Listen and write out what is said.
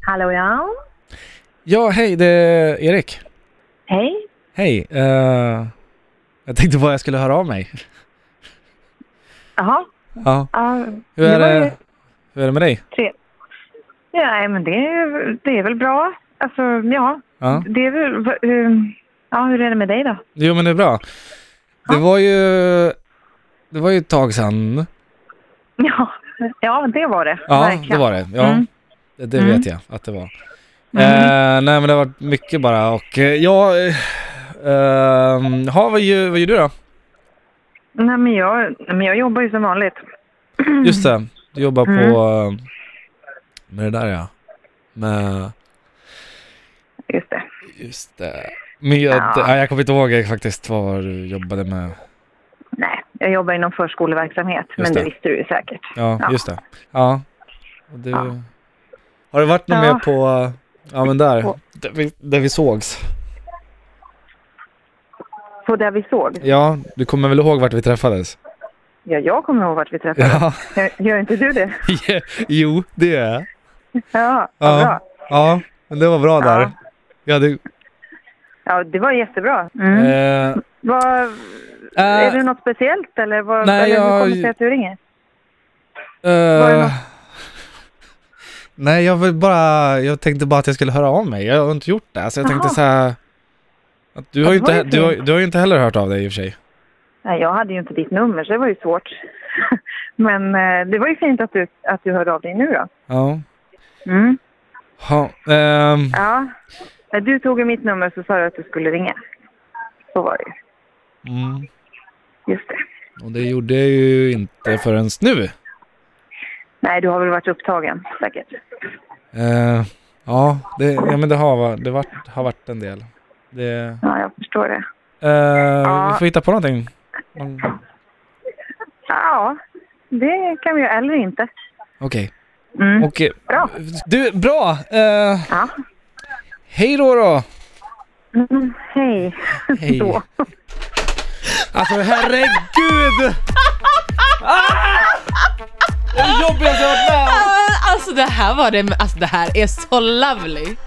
Hallå ja. Ja, hej, det är Erik. Hej. Hej. eh, jag tänkte bara jag skulle höra av mig. Jaha. Ja. Ja, Hur är var ju det, hur är det med dig? tre- Ja, nej, men det, är- det är väl bra. Alltså, ja. Ja. Det är väl... va- hur- Ja, hur är det med dig då? Jo, men det är bra. Det var ju... Det var ju ett tag sedan. Ja, ja men det var det. Ja, Verkligen. det var det. Ja, Mm. det, det Mm. vet jag att det var. Eh, nej, men det har varit mycket bara och eh, ja... eh, ehm, ja, vad, gör, vad gör du då? Nej, men jag, nej, men jag jobbar ju som vanligt. Just det, du jobbar Mm. på... eh, Med det där ja. Med... Just det. Just det. Med, ja. Ja. jag kommer inte ihåg eh, faktiskt vad du jobbade med. Nej, jag jobbar inom förskoleverksamhet, men det. det visste du ju säkert. Ja, Ja. just det. Ja. Och du... Ja. Har du varit någon Ja. mer på... eh, Ja, men där. På- Där vi, där vi sågs. På där vi såg. Ja, du kommer väl ihåg vart vi träffades? Ja, jag kommer ihåg vart vi träffades. Ja. Gör, gör inte du det? jo, det gör jag. Ja, Ja. ja. bra. Ja, men det var bra där. Ja. Ja, det... Ja, det var jättebra. Mm. Eh, Vad, eh, är det något speciellt eller, vad, nej, eller hur jag- kommer det sig att du ringer? det eh, något- Nej, jag vill bara... Jag tänkte bara att jag skulle höra av mig. Jag har inte gjort det. Så jag tänkte Jaha. så här... Att du, har Ja, ju det var inte, ju du, har, fint. du har ju inte heller hört av dig i och för sig. Nej, jag hade ju inte ditt nummer så det var ju svårt. Men eh, det var ju fint att du, att du hörde av dig nu då. Ja. Mm. Ha, ehm, Ja. När du tog ju mitt nummer så sa du att du skulle ringa. Så var det ju. mm. Just det. Och det gjorde jag ju inte förrän nu. Nej, du har väl varit upptagen säkert. Eh, ja, det, ja, men det, har, va- det var, har varit en del. Det, Ja, jag förstår det. eh, Vi får hitta på någonting. Mm, Ja, det kan vi göra. Eller inte. Okej. Mm. Och, eh, Bra. Du, bra! Eh, Ja. hej då då! Mm, hej. Hej. Då. Alltså herregud! Ah! Det är det jobbigaste jag har varit med om. Ah, Alltså det här var det, alltså det här är så lovely.